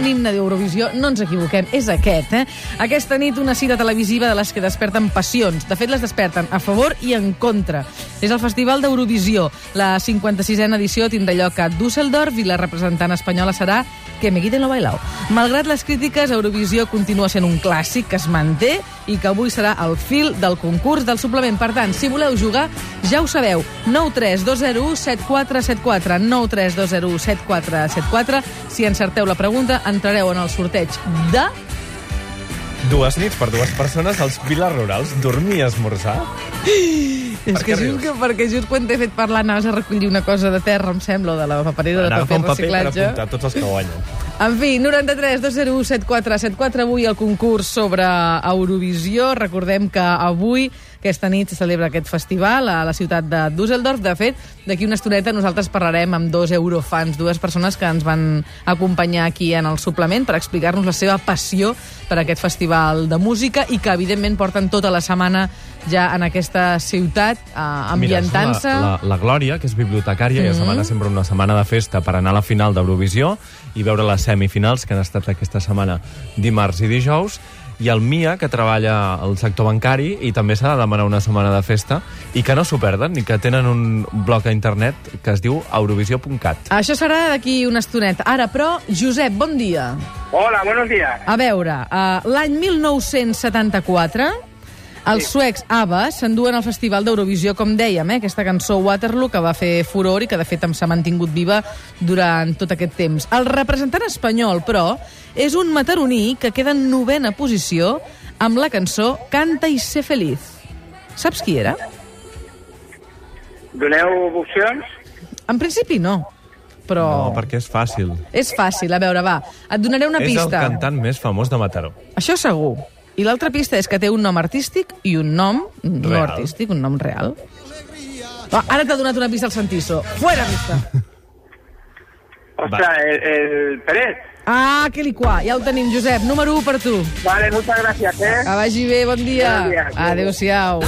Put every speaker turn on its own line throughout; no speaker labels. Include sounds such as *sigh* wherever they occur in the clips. himne d'Eurovisió, no ens equivoquem, és aquest, eh? Aquesta nit una cita televisiva de les que desperten passions. De fet, les desperten a favor i en contra. És el Festival d'Eurovisió. La 56a edició tindrà lloc a Düsseldorf i la representant espanyola serà que me quiten lo bailao. Malgrat les crítiques, Eurovisió continua sent un clàssic que es manté i que avui serà el fil del concurs del suplement. Per tant, si voleu jugar, ja ho sabeu. 932017474 932017474 Si encerteu la pregunta, entrareu en el sorteig de...
Dues nits per dues persones als viles rurals, dormir i esmorzar.
És que
què
just
rius?
que perquè just quan t'he fet parlar anaves a recollir una cosa de terra, em sembla, o de la paperera de
Anar a agafar un
paper
paper per
reciclatge.
apuntar tots els que guanyen.
En fi, 93 201 7474, avui el concurs sobre Eurovisió. Recordem que avui, aquesta nit, se celebra aquest festival a la ciutat de Düsseldorf. De fet, d'aquí una estoneta nosaltres parlarem amb dos eurofans, dues persones que ens van acompanyar aquí en el suplement per explicar-nos la seva passió per aquest festival de música i que, evidentment, porten tota la setmana ja en aquesta ciutat, eh, ambientant-se... Mhm.
Mira, la, la, la Glòria, que és bibliotecària, mm -hmm. i setmana sempre una setmana de festa per anar a la final d'Eurovisió i veure les semifinals que han estat aquesta setmana dimarts i dijous, i el Mia, que treballa al sector bancari i també s'ha de demanar una setmana de festa i que no s'ho perden i que tenen un bloc a internet que es diu eurovisió.cat.
Això serà d'aquí una estoneta. Ara, però, Josep, bon dia.
Hola, buenos días.
A veure, uh, l'any 1974, els suecs ABBA s'enduen al Festival d'Eurovisió, com dèiem, eh? aquesta cançó Waterloo, que va fer furor i que, de fet, em s'ha mantingut viva durant tot aquest temps. El representant espanyol, però, és un mataroní que queda en novena posició amb la cançó Canta i sé feliz. Saps qui era?
Doneu opcions?
En principi no, però...
No, perquè és fàcil.
És fàcil, a veure, va. Et donaré una
és el
pista.
cantant més famós de Mataró.
Això segur. I l'altra pista és que té un nom artístic i un nom real. no
Real.
artístic, un nom real. Va, ara t'ha donat una pista al Santiso. Fuera
*laughs*
pista!
Ostras, el, el Pérez.
Ah, que liquà. Ja ho tenim, Josep. Número 1 per tu.
Vale, muchas gracias, ¿eh?
Que vagi bé, bon
Bon
dia.
dia.
Adéu-siau.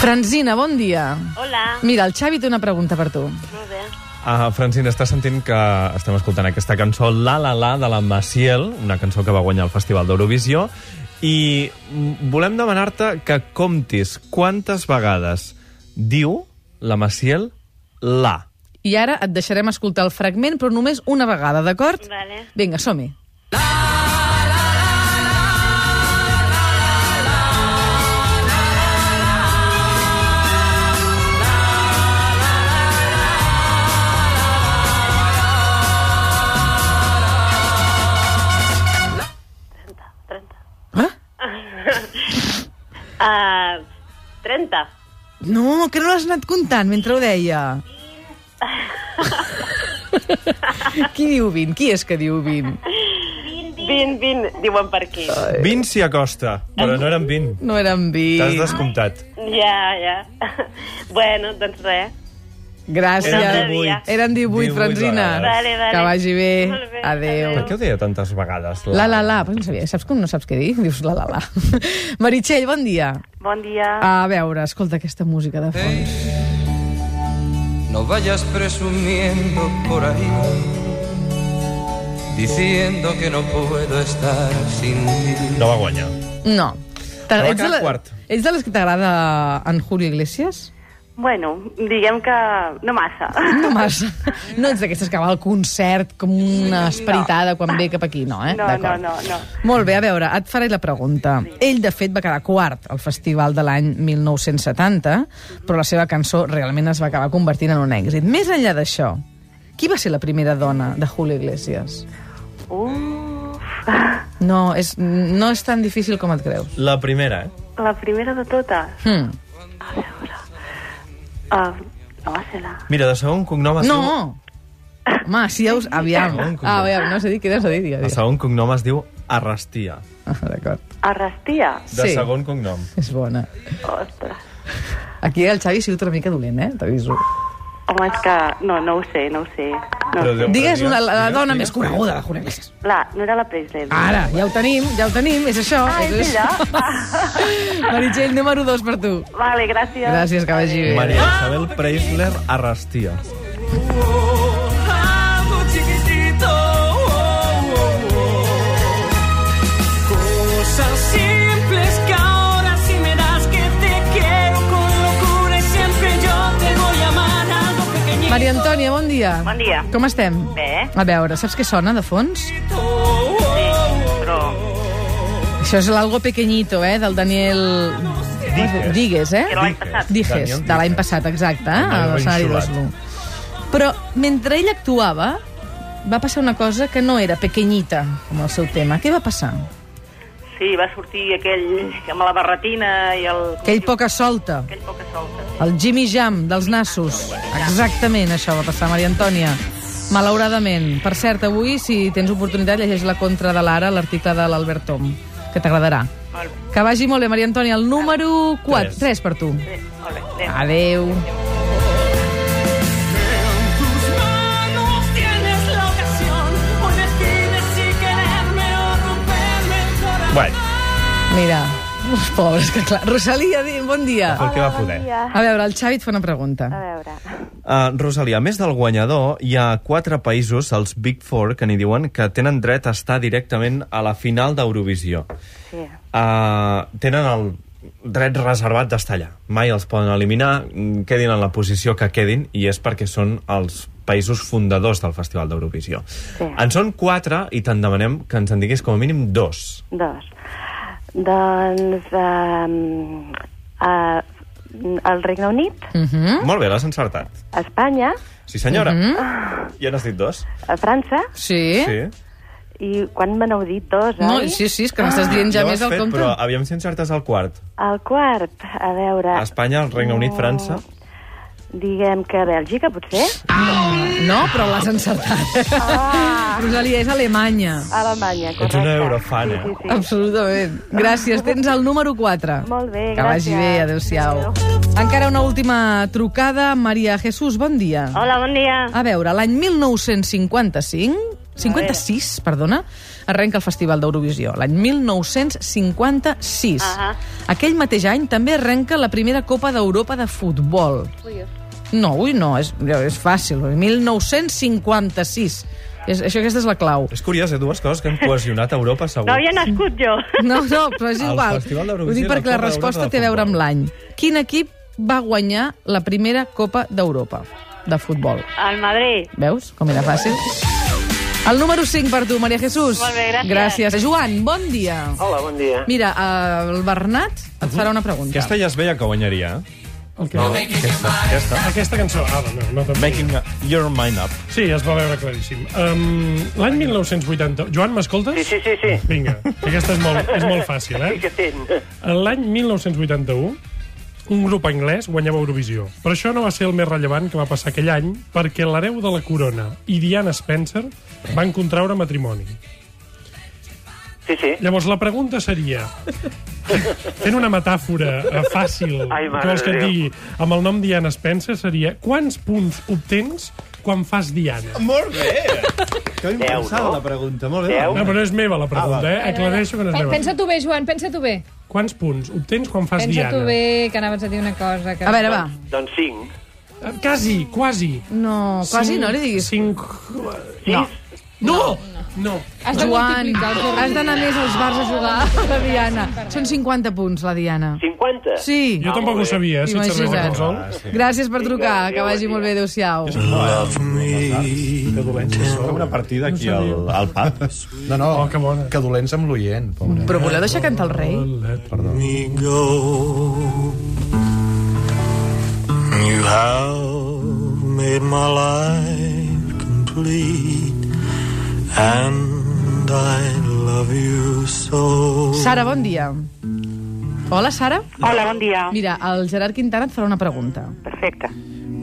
Franzina, bon dia.
Hola,
Mira, el Xavi té una pregunta per tu.
molt bé.
Uh, Francina, estàs sentint que estem escoltant aquesta cançó La La La de la Maciel, una cançó que va guanyar el Festival d'Eurovisió, i mm, volem demanar-te que comptis quantes vegades diu la Maciel la.
I ara et deixarem escoltar el fragment, però només una vegada, d'acord?
Vale.
Vinga, som-hi. Eh?
Eh,
Uh, 30.
No, que no l'has anat comptant mentre ho deia. Qui diu 20? Qui és que diu 20?
20, 20, diuen per aquí.
20 s'hi acosta, però no eren 20.
No eren
T'has
20.
descomptat.
Ja,
*laughs*
ja. bueno, doncs res.
Gràcies.
Eren
Eren 18, Franzina.
vegades.
Vale, vale.
Que vagi bé.
Molt bé,
Adéu.
Per què ho deia tantes vegades?
La, la, la. Pues no sabia. Saps com no saps què dir? Dius la, la, la. Meritxell, bon dia.
Bon dia.
A veure, escolta aquesta música de fons.
No vayas presumiendo por ahí, diciendo que no puedo estar sin ti.
No va guanyar.
Eh.
No.
Però va
Ets de,
quedar
la...
quart.
Ets de les que t'agrada en Julio Iglesias?
Bueno, diguem que no massa.
No massa. No ets d'aquestes que va al concert com una esperitada quan ve cap aquí, no, eh?
*laughs* No,
D'acord.
no, no, no.
Molt bé, a veure, et faré la pregunta. Ell, de fet, va quedar quart al festival de l'any 1970, però la seva cançó realment es va acabar convertint en un èxit. Més enllà d'això, qui va ser la primera dona de Julio Iglesias?
Uf,
No, és, no és tan difícil com et creus.
La primera, eh?
la primera de totes.
Hmm.
Uh, no va ser la...
Mira, de segon cognom es diu...
No! Home, si ja us... Aviam.
Segon cognom.
Ah, aviam, no sé dir, quines a dir,
El
digue.
segon cognom es diu Arrastia.
Ah, D'acord.
Arrastia.
De
Sí.
segon cognom.
És bona.
Ostres.
Aquí el Xavi ha sigut una mica dolent, eh? T'aviso.
Home, és que... No, no ho sé, no ho sé.
Però Déu,
Ah. Digues
digues,
una, la, la
digues,
dona
digues.
més coneguda de Julio Iglesias.
La, no era la Presley.
Ara, ja ho tenim, ja ho tenim, és això.
Ah,
això.
és ella?
*laughs*
Ah.
Meritxell, número 2 per tu.
Vale, gràcies.
Gràcies, que vagi bé.
Maria Isabel Preisler Arrastia.
Cosas simples que ahora si me das que te quiero con locura y siempre yo te voy a amar algo pequeñito.
Maria Antònia, bon dia.
Bon dia.
Com estem?
Bé.
A veure, saps què sona de fons?
Sí, però...
Això és l'algo pequeñito, eh, del Daniel...
Digues.
Digues, eh?
Que era l'any passat.
Dijes,
Daniel
de l'any
Dijes.
passat, exacte, eh?
Amb
a
el
l'escenari
insulat.
dels Lu. Però mentre ell actuava, va passar una cosa que no era pequeñita, com el seu tema. Què va passar?
Sí, va sortir aquell amb la barretina i el... com
Aquell
es diu?
poca solta,
Aquell poca solta.
el Jimmy Jam dels nassos. Exactament això va passar, Maria Antònia. Malauradament. Per cert, avui, si tens oportunitat, llegeix la contra de l'Ara, l'article de l'Albert Tom, que t'agradarà.
Molt bé.
Que vagi molt bé, Maria Antònia. El número 4,
Tres.
3 per tu.
Sí, Molt bé. Adéu.
Adeu.
Tus manos tienes la ocasión. Hoy decides si quererme o romperme el corazón.
Bueno,
Mira, uns pobres, que clar. Rosalia, di- bon dia.
el que va
Bon
poder.
dia.
A veure, el Xavi et fa una
A
pregunta.
veure.
Uh, Rosalia, a més del guanyador, hi ha quatre països, els Big Four, que n'hi diuen, que tenen dret a estar directament a la final d'Eurovisió.
Sí.
Uh, tenen el dret reservat d'estar allà. Mai els poden eliminar, mm, quedin en la posició que quedin, i és perquè són els països fundadors del Festival d'Eurovisió.
Sí.
En són quatre i te'n demanem que ens en diguis com a mínim dos.
Dos. Doncs... Um, uh, el Regne Unit,
Uh -huh.
Molt bé, l'has encertat.
Espanya,
Sí, senyora. Mm -hmm. Ja n'has dit dos.
a França,
Sí? sí.
Sí.
i quan me n'heu dit dos,
No,
oi?
sí, sí, és que m'estàs dient ja
Ah, ho
més
has
el
fet,
compte.
Però aviam si encertes el quart.
El quart, a veure...
Espanya, el Regne Unit, França...
Diguem que Bèlgica, potser?
No, però l'has encertat. Ah. Rosalia, és Alemanya.
Alemanya,
Ets
correcte.
una eurofana.
Sí, sí, sí.
Absolutament. Gràcies, tens el número 4.
Molt bé,
Que vagi
gràcies.
bé, adeu-siau. Encara una última trucada. Maria Jesús, bon dia.
Hola, bon dia.
A veure, l'any 1955... 56, perdona, arrenca el Festival d'Eurovisió, l'any 1956.
Ahà.
Aquell mateix any també arrenca la primera Copa d'Europa de futbol. No, ui, no, és, és fàcil, 1956. És, això, aquesta és la clau.
És curiós, eh? Dues coses que han cohesionat Europa, segur.
No havia nascut jo.
No, no, però és
El
igual.
Festival d'Eurovisió
Ho dic
i la
perquè la
Copa
resposta
d'Europa de
té a veure amb
futbol.
l'any. Quin equip va guanyar la primera Copa d'Europa de futbol?
Al Madrid.
Veus com era fàcil? El número 5 per tu, Maria Jesús.
Molt bé, gràcies.
Gràcies. Joan, bon dia.
Hola, bon dia.
Mira, eh, el Bernat et farà una pregunta.
Aquesta ja es veia que guanyaria. eh?
Okay.
No, aquesta, aquesta.
Aquesta cançó... Ah, no, no te'n
Making your mind up.
Sí, es va veure claríssim. Um, L'any 1980... Joan, m'escoltes?
Sí, sí, sí, sí.
Vinga, que aquesta és molt, és molt fàcil,
Sí que
eh?
sent.
L'any 1981, un grup anglès guanyava Eurovisió. Però això no va ser el més rellevant que va passar aquell any, perquè l'hereu de la corona i Diana Spencer van contraure matrimoni.
Sí, sí.
Llavors, la pregunta seria... Fent una metàfora eh, fàcil,
Ai, mare
que vols que
de
et
Déu.
digui, amb el nom Diana Spencer, seria quants punts obtens quan fas Diana?
Molt bé! Que ben
Deu,
pensada
no?
la pregunta, molt bé.
Deu.
No, però no és meva la
Ah,
pregunta,
val.
eh? Aclareixo que no és meva.
Pensa tu bé, Joan, pensa tu bé.
Quants punts obtens quan fas
Pensa
Diana?
tu bé, que anaves a dir una cosa. Que...
A veure, va.
Doncs cinc.
Eh, Quasi, quasi.
No, quasi
Cinc-
no li diguis.
Cinc...
No.
No! No.
Has de
Joan,
multiplicar el
has d'anar més als bars a jugar a la Diana. Són 50 punts, la Diana.
50?
Sí,
Jo tampoc ho sabia, eh? Si et serveix de
Imagina't.
consol.
Ah.
Gràcies per trucar, que
adéu,
vagi
adéu.
molt bé, adéu-siau.
Una partida aquí al, al pub.
No, no,
Oh, que bona.
que dolents amb l'oient, pobre.
Però voleu deixar cantar el rei?
Perdó.
You have made my life complete, and I love you so.
Sara, bon dia. Hola, Sara.
Hola, bon dia.
Mira, el Gerard Quintana et farà una pregunta.
Perfecte.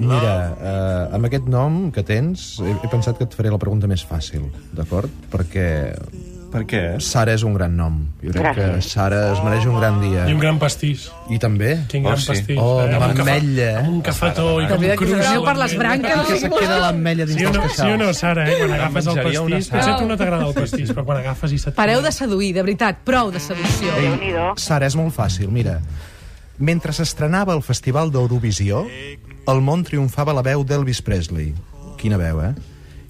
Mira, eh, amb aquest nom que tens he, he pensat que et faré la pregunta més fàcil, d'acord? Perquè
Per què?
Sara és un gran nom. Jo crec que
Gràcies.
Sara es mereix un gran dia.
I un gran pastís.
I també.
Quin gran pastís.
Oh,
eh?
amb
Amb un cafe-
ametlla. eh?
Amb un cafetó i com
Mira, que us
crus.
aneu per les branques.
Que se queda l'ametlla dins
Sí o,
dels
no, sí o
queixals.
no, Sara, eh? quan agafes el
menjaria una
pastís...
Sara.
Potser a tu no t'agrada el pastís, però quan agafes i se't...
Pareu de seduir, de veritat, prou de seducció.
Mm.
Sara, és molt fàcil, mira. Mentre s'estrenava el Festival d'Eurovisió, al món triomfava la veu d'Elvis Presley. Quina veu, eh?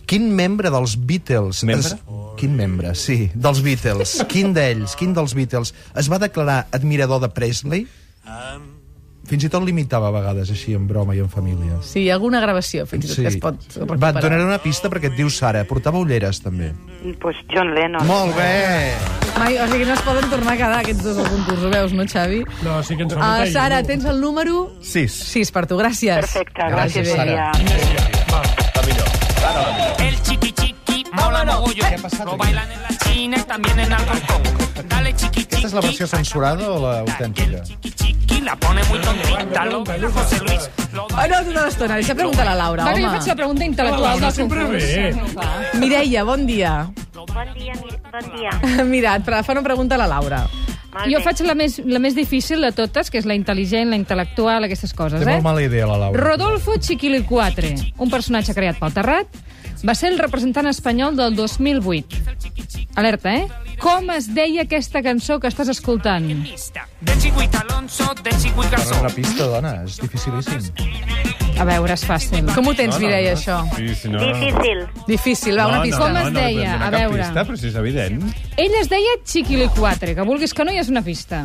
Quin membre dels Beatles...
Membre?
Es... Quin membre, sí, dels Beatles. Quin d'ells, quin dels Beatles es va declarar admirador de Presley? Fins i tot l'imitava a vegades, així, en broma i en família.
Sí, hi ha alguna gravació, fins i tot,
Sí.
que es pot recuperar.
Va, et donaré una pista perquè et diu Sara. Portava ulleres, també.
Pues Doncs John Lennon.
Molt bé!
Mai, o sigui, no es poden tornar a quedar aquests dos al concurs, ho veus, no, Xavi?
No, sí que ens
Ah, Sara, tens el número
6.
6 per tu, gràcies. Perfecte,
gràcies, Sara.
El chiqui chiqui mola mogollón. Lo bailan en la China y también en Hong Kong. Dale chiqui
Aquesta és la
chiqui,
versió censurada o l'autèntica?
chiqui, la pone muy tontita. Lo baila José Luis.
Oh, no, d'una estona, deixa preguntar a la Laura,
Va, que
home.
jo faig la pregunta
La
intel·lectual
Laura
del
sempre
concurs.
ve.
No, clar.
Mireia, bon dia. *laughs*
Bon dia, mi- bon dia.
Mira, et fa una pregunta a la Laura.
Molt
Jo
bé.
faig la més, la més difícil de totes, que és la intel·ligent, la intel·lectual, aquestes coses,
Té
eh?
molt mala idea, la Laura.
Rodolfo Chiquilicuatre, un personatge creat pel Terrat, va ser el representant espanyol del 2008. Alerta, eh? Com es deia aquesta cançó que estàs escoltant?
De Chihuita Alonso, de Chihuita
Dona una pista, dona, és dificilíssim.
A veure, és fàcil.
Com ho tens, Mireia, Doncs això?
Sí, si no...
Difícil, va, una pista.
Com es deia?
no,
A
cap
veure.
Pista, però si és evident.
Ell es deia Chiquilicuatre, que vulguis que no, ja és una pista.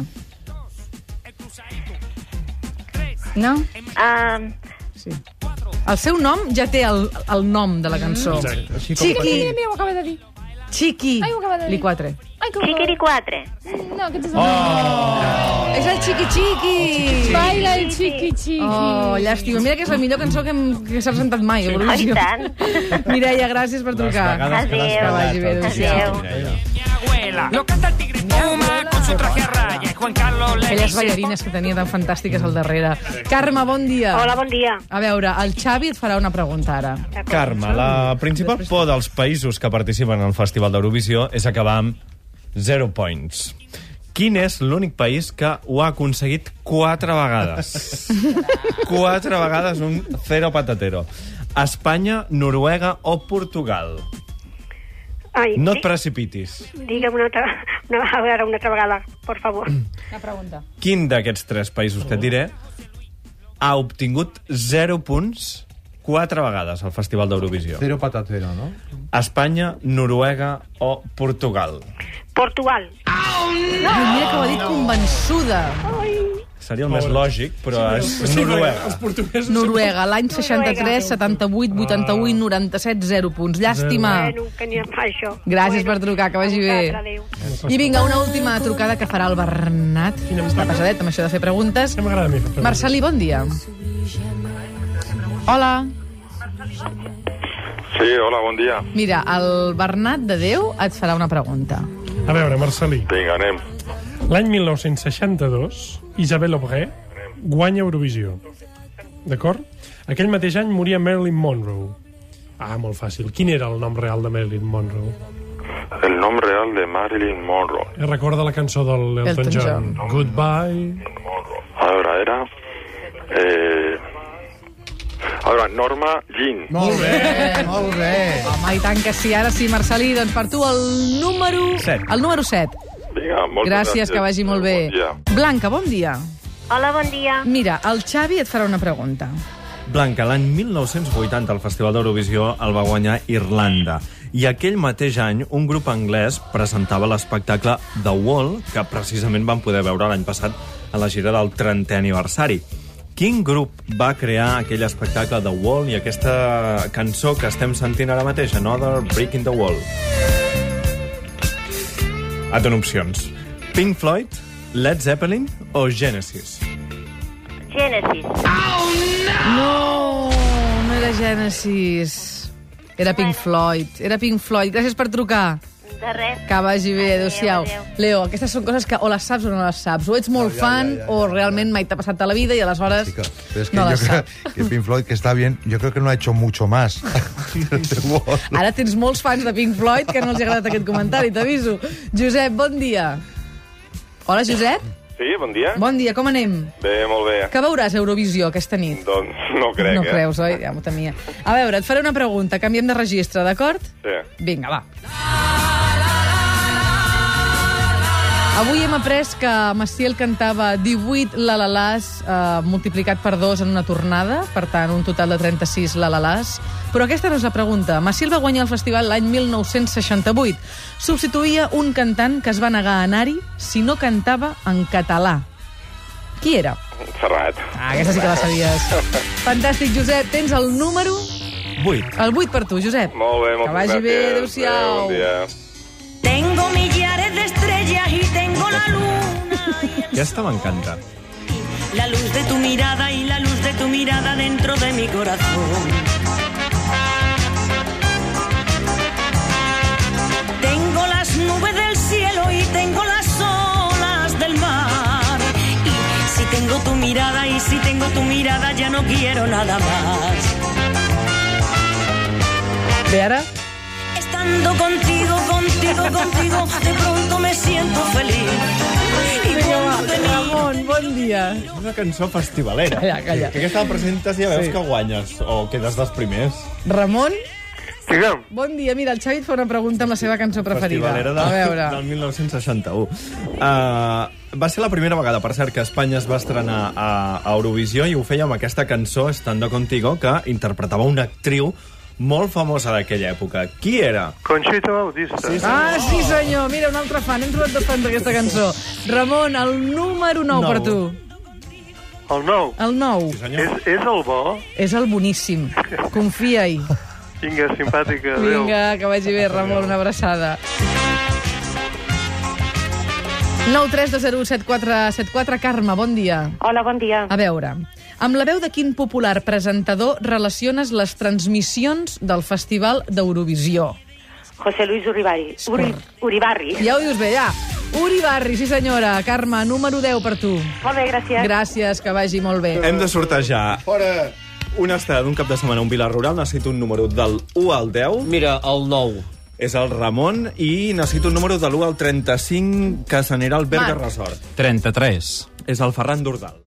No?
Ehm,
Um,
Sí. El seu nom ja té el, el nom de la cançó.
Exacte.
Així
com-
Chiqui,
Mira, mira, ho acaba de dir.
Chiqui,
Ai, ho acaba de dir.
li quatre.
Ai, que
Chiquiri 4.
No, aquest és el oh!
És el Chiqui Oh, Chiqui.
Baila el Chiqui Chiqui.
Oh, llàstima. Mira que és la millor cançó que, hem, que s'ha presentat mai. Sí. Eurovisió. *laughs* Mireia, gràcies per trucar.
vegades que l'has Adéu.
Que vagi bé.
fallat, el
adéu-siau.
abuela. Lo canta el tigre Puma con su traje a raya. y Juan Carlos le
Aquelles
dice,
ballarines que tenia tan fantàstiques al darrere. Carme, bon dia.
Hola, bon dia.
A veure, el Xavi et farà una pregunta ara.
Carme, la principal por dels països que participen al Festival d'Eurovisió és acabar amb zero points. Quin és l'únic país que ho ha aconseguit quatre vegades? quatre vegades un zero patatero. Espanya, Noruega o Portugal.
Ai,
No et
di-
precipitis.
Digue'm una altra, una, a veure, una altra vegada, por favor.
La pregunta.
Quin d'aquests tres països que et diré ha obtingut zero punts quatre vegades al Festival d'Eurovisió?
Cero patatero, no?
Espanya, Noruega o Portugal?
Portugal.
No! Mira que ho ha dit convençuda.
Seria el més lògic, però és
Sí,
Noruega.
portuguesos...
Noruega, l'any 63, 78, 81, 97, 0 punts. Llàstima.
Bueno, que n'hi fa això.
Gràcies per trucar, que vagi bé.
Vosaltres, adéu.
I vinga, una última trucada que farà el Bernat. Està pesadet amb això de fer preguntes.
M'agrada a mi. fer preguntes.
Marcelí, bon dia. Hola.
Sí, hola, bon dia.
Mira, el Bernat de Déu et farà una pregunta.
A veure, Marcelí.
Vinga, anem.
L'any 1962, Isabel Obré guanya Eurovisió. D'acord? Aquell mateix any moria Marilyn Monroe. Ah, molt fàcil. Quin era el nom real de Marilyn Monroe?
El nom real de Marilyn Monroe.
Eh, Recorda la cançó del Elton,
Elton
John. Goodbye.
A veure, era... Eh... A veure, Norma Jean.
Molt bé, molt bé.
Home, i tant que sí, ara sí, Marcelí, doncs per tu el número...
Set.
El número 7.
Vinga, moltes
gràcies,
gràcies.
que vagi molt bé.
Bon dia.
Blanca, bon dia.
Hola, bon dia.
Mira, el Xavi et farà una pregunta.
Blanca, l'any 1980 el Festival d'Eurovisió el va guanyar Irlanda. I aquell mateix any un grup anglès presentava l'espectacle The Wall, que precisament vam poder veure l'any passat a la gira del 30è aniversari. Quin grup va crear aquell espectacle The Wall i aquesta cançó que estem sentint ara mateix, Another Brick in the Wall? Et dono opcions. Pink Floyd, Led Zeppelin o Genesis?
Genesis. Oh,
No, no era Genesis. Era Pink Floyd. Era Pink Floyd. Gràcies per trucar.
De res.
Que vagi bé, adéu-siau.
adéu.
Leo, aquestes són coses que o les saps o no les saps. O ets molt
No, ja,
fan
ja, ja,
o realment mai t'ha passat a la vida i aleshores...
Pero es que
No la
yo creo que Pink Floyd, que está bien, yo creo que no ha hecho mucho más. *laughs* The Wall.
Ara tens molts fans de Pink Floyd que no els ha agradat aquest comentari, t'aviso. Josep, bon dia. Hola, Josep.
Sí, bon dia.
Bon dia, com anem?
Bé, molt bé.
Què veuràs a Eurovisió aquesta nit?
Doncs no crec,
no
eh?
creus, oi? Ja m'ho temia. A veure, et faré una pregunta. Canviem de registre, d'acord?
Sí.
Vinga, va. Avui hem après que Maciel cantava 18 lalalàs eh, multiplicat per 2 en una tornada, per tant, un total de 36 lalalàs. Però aquesta no és la pregunta. Maciel va guanyar el festival l'any 1968. Substituïa un cantant que es va negar a anar-hi si no cantava en català. Qui era?
Serrat.
Ah, aquesta sí que la
*laughs*
sabies. Fantàstic, Josep. Tens el número...
8.
El 8 per tu, Josep.
Molt bé,
Que
moltes
vagi
gràcies.
bé, adéu-siau.
Adéu, Bon dia.
Tengo millares de estrellas y tengo la luz,
Aquesta m'encanta.
la luz de tu mirada y la luz de tu mirada dentro de mi corazón. Tengo las nubes del cielo y tengo las olas del mar. Y si tengo tu mirada y si tengo tu mirada ya no quiero nada más.
Bé, ara?
Estando contigo, contigo,
*laughs*
contigo, de pronto me siento feliz. Y cuando te miro-
Ramon, bon dia.
Una cançó festivalera.
Calla, calla.
Que aquesta la presentes i ja veus sí. que guanyes o quedes dels primers.
Ramon? Digue'm. Bon dia. Mira, el Xavi et fa una pregunta amb la seva cançó preferida.
Festivalera de,
A veure.
del 1961. Uh, va ser la primera vegada, per cert, que Espanya es va estrenar a, a Eurovisió i ho feia amb aquesta cançó, Estando Contigo, que interpretava una actriu molt famosa d'aquella època. Qui era?
Conxita Bautista.
Sí,
Ah, sí, senyor. Mira, un altre fan. Hem trobat dos fans d'aquesta cançó. Ramon, el número 9
Nou.
per tu.
El nou.
El 9. Sí,
És, és el bo.
És el boníssim. Confia-hi.
Vinga, simpàtica. Adéu.
Vinga, que vagi bé, Ramon, una abraçada. 932017474, Carme, bon dia.
Hola, bon dia.
A veure, amb la veu de quin popular presentador relaciones les transmissions del Festival d'Eurovisió?
José Luis Uribari. Uri, Uribarri.
Ja ho dius bé, ja. Uri Barri, sí senyora. Carme, número 10 per tu.
Molt bé, gràcies.
Gràcies, que vagi molt bé.
Hem de sortejar
Fora!
una estada d'un cap de setmana a un Vila Rural. Necessito un número del 1 al 10.
Mira, el 9.
És el Ramon i necessito un número de l'1 al 35 que s'anirà al Berga
Marc.
Resort. 33. És el Ferran Dordal.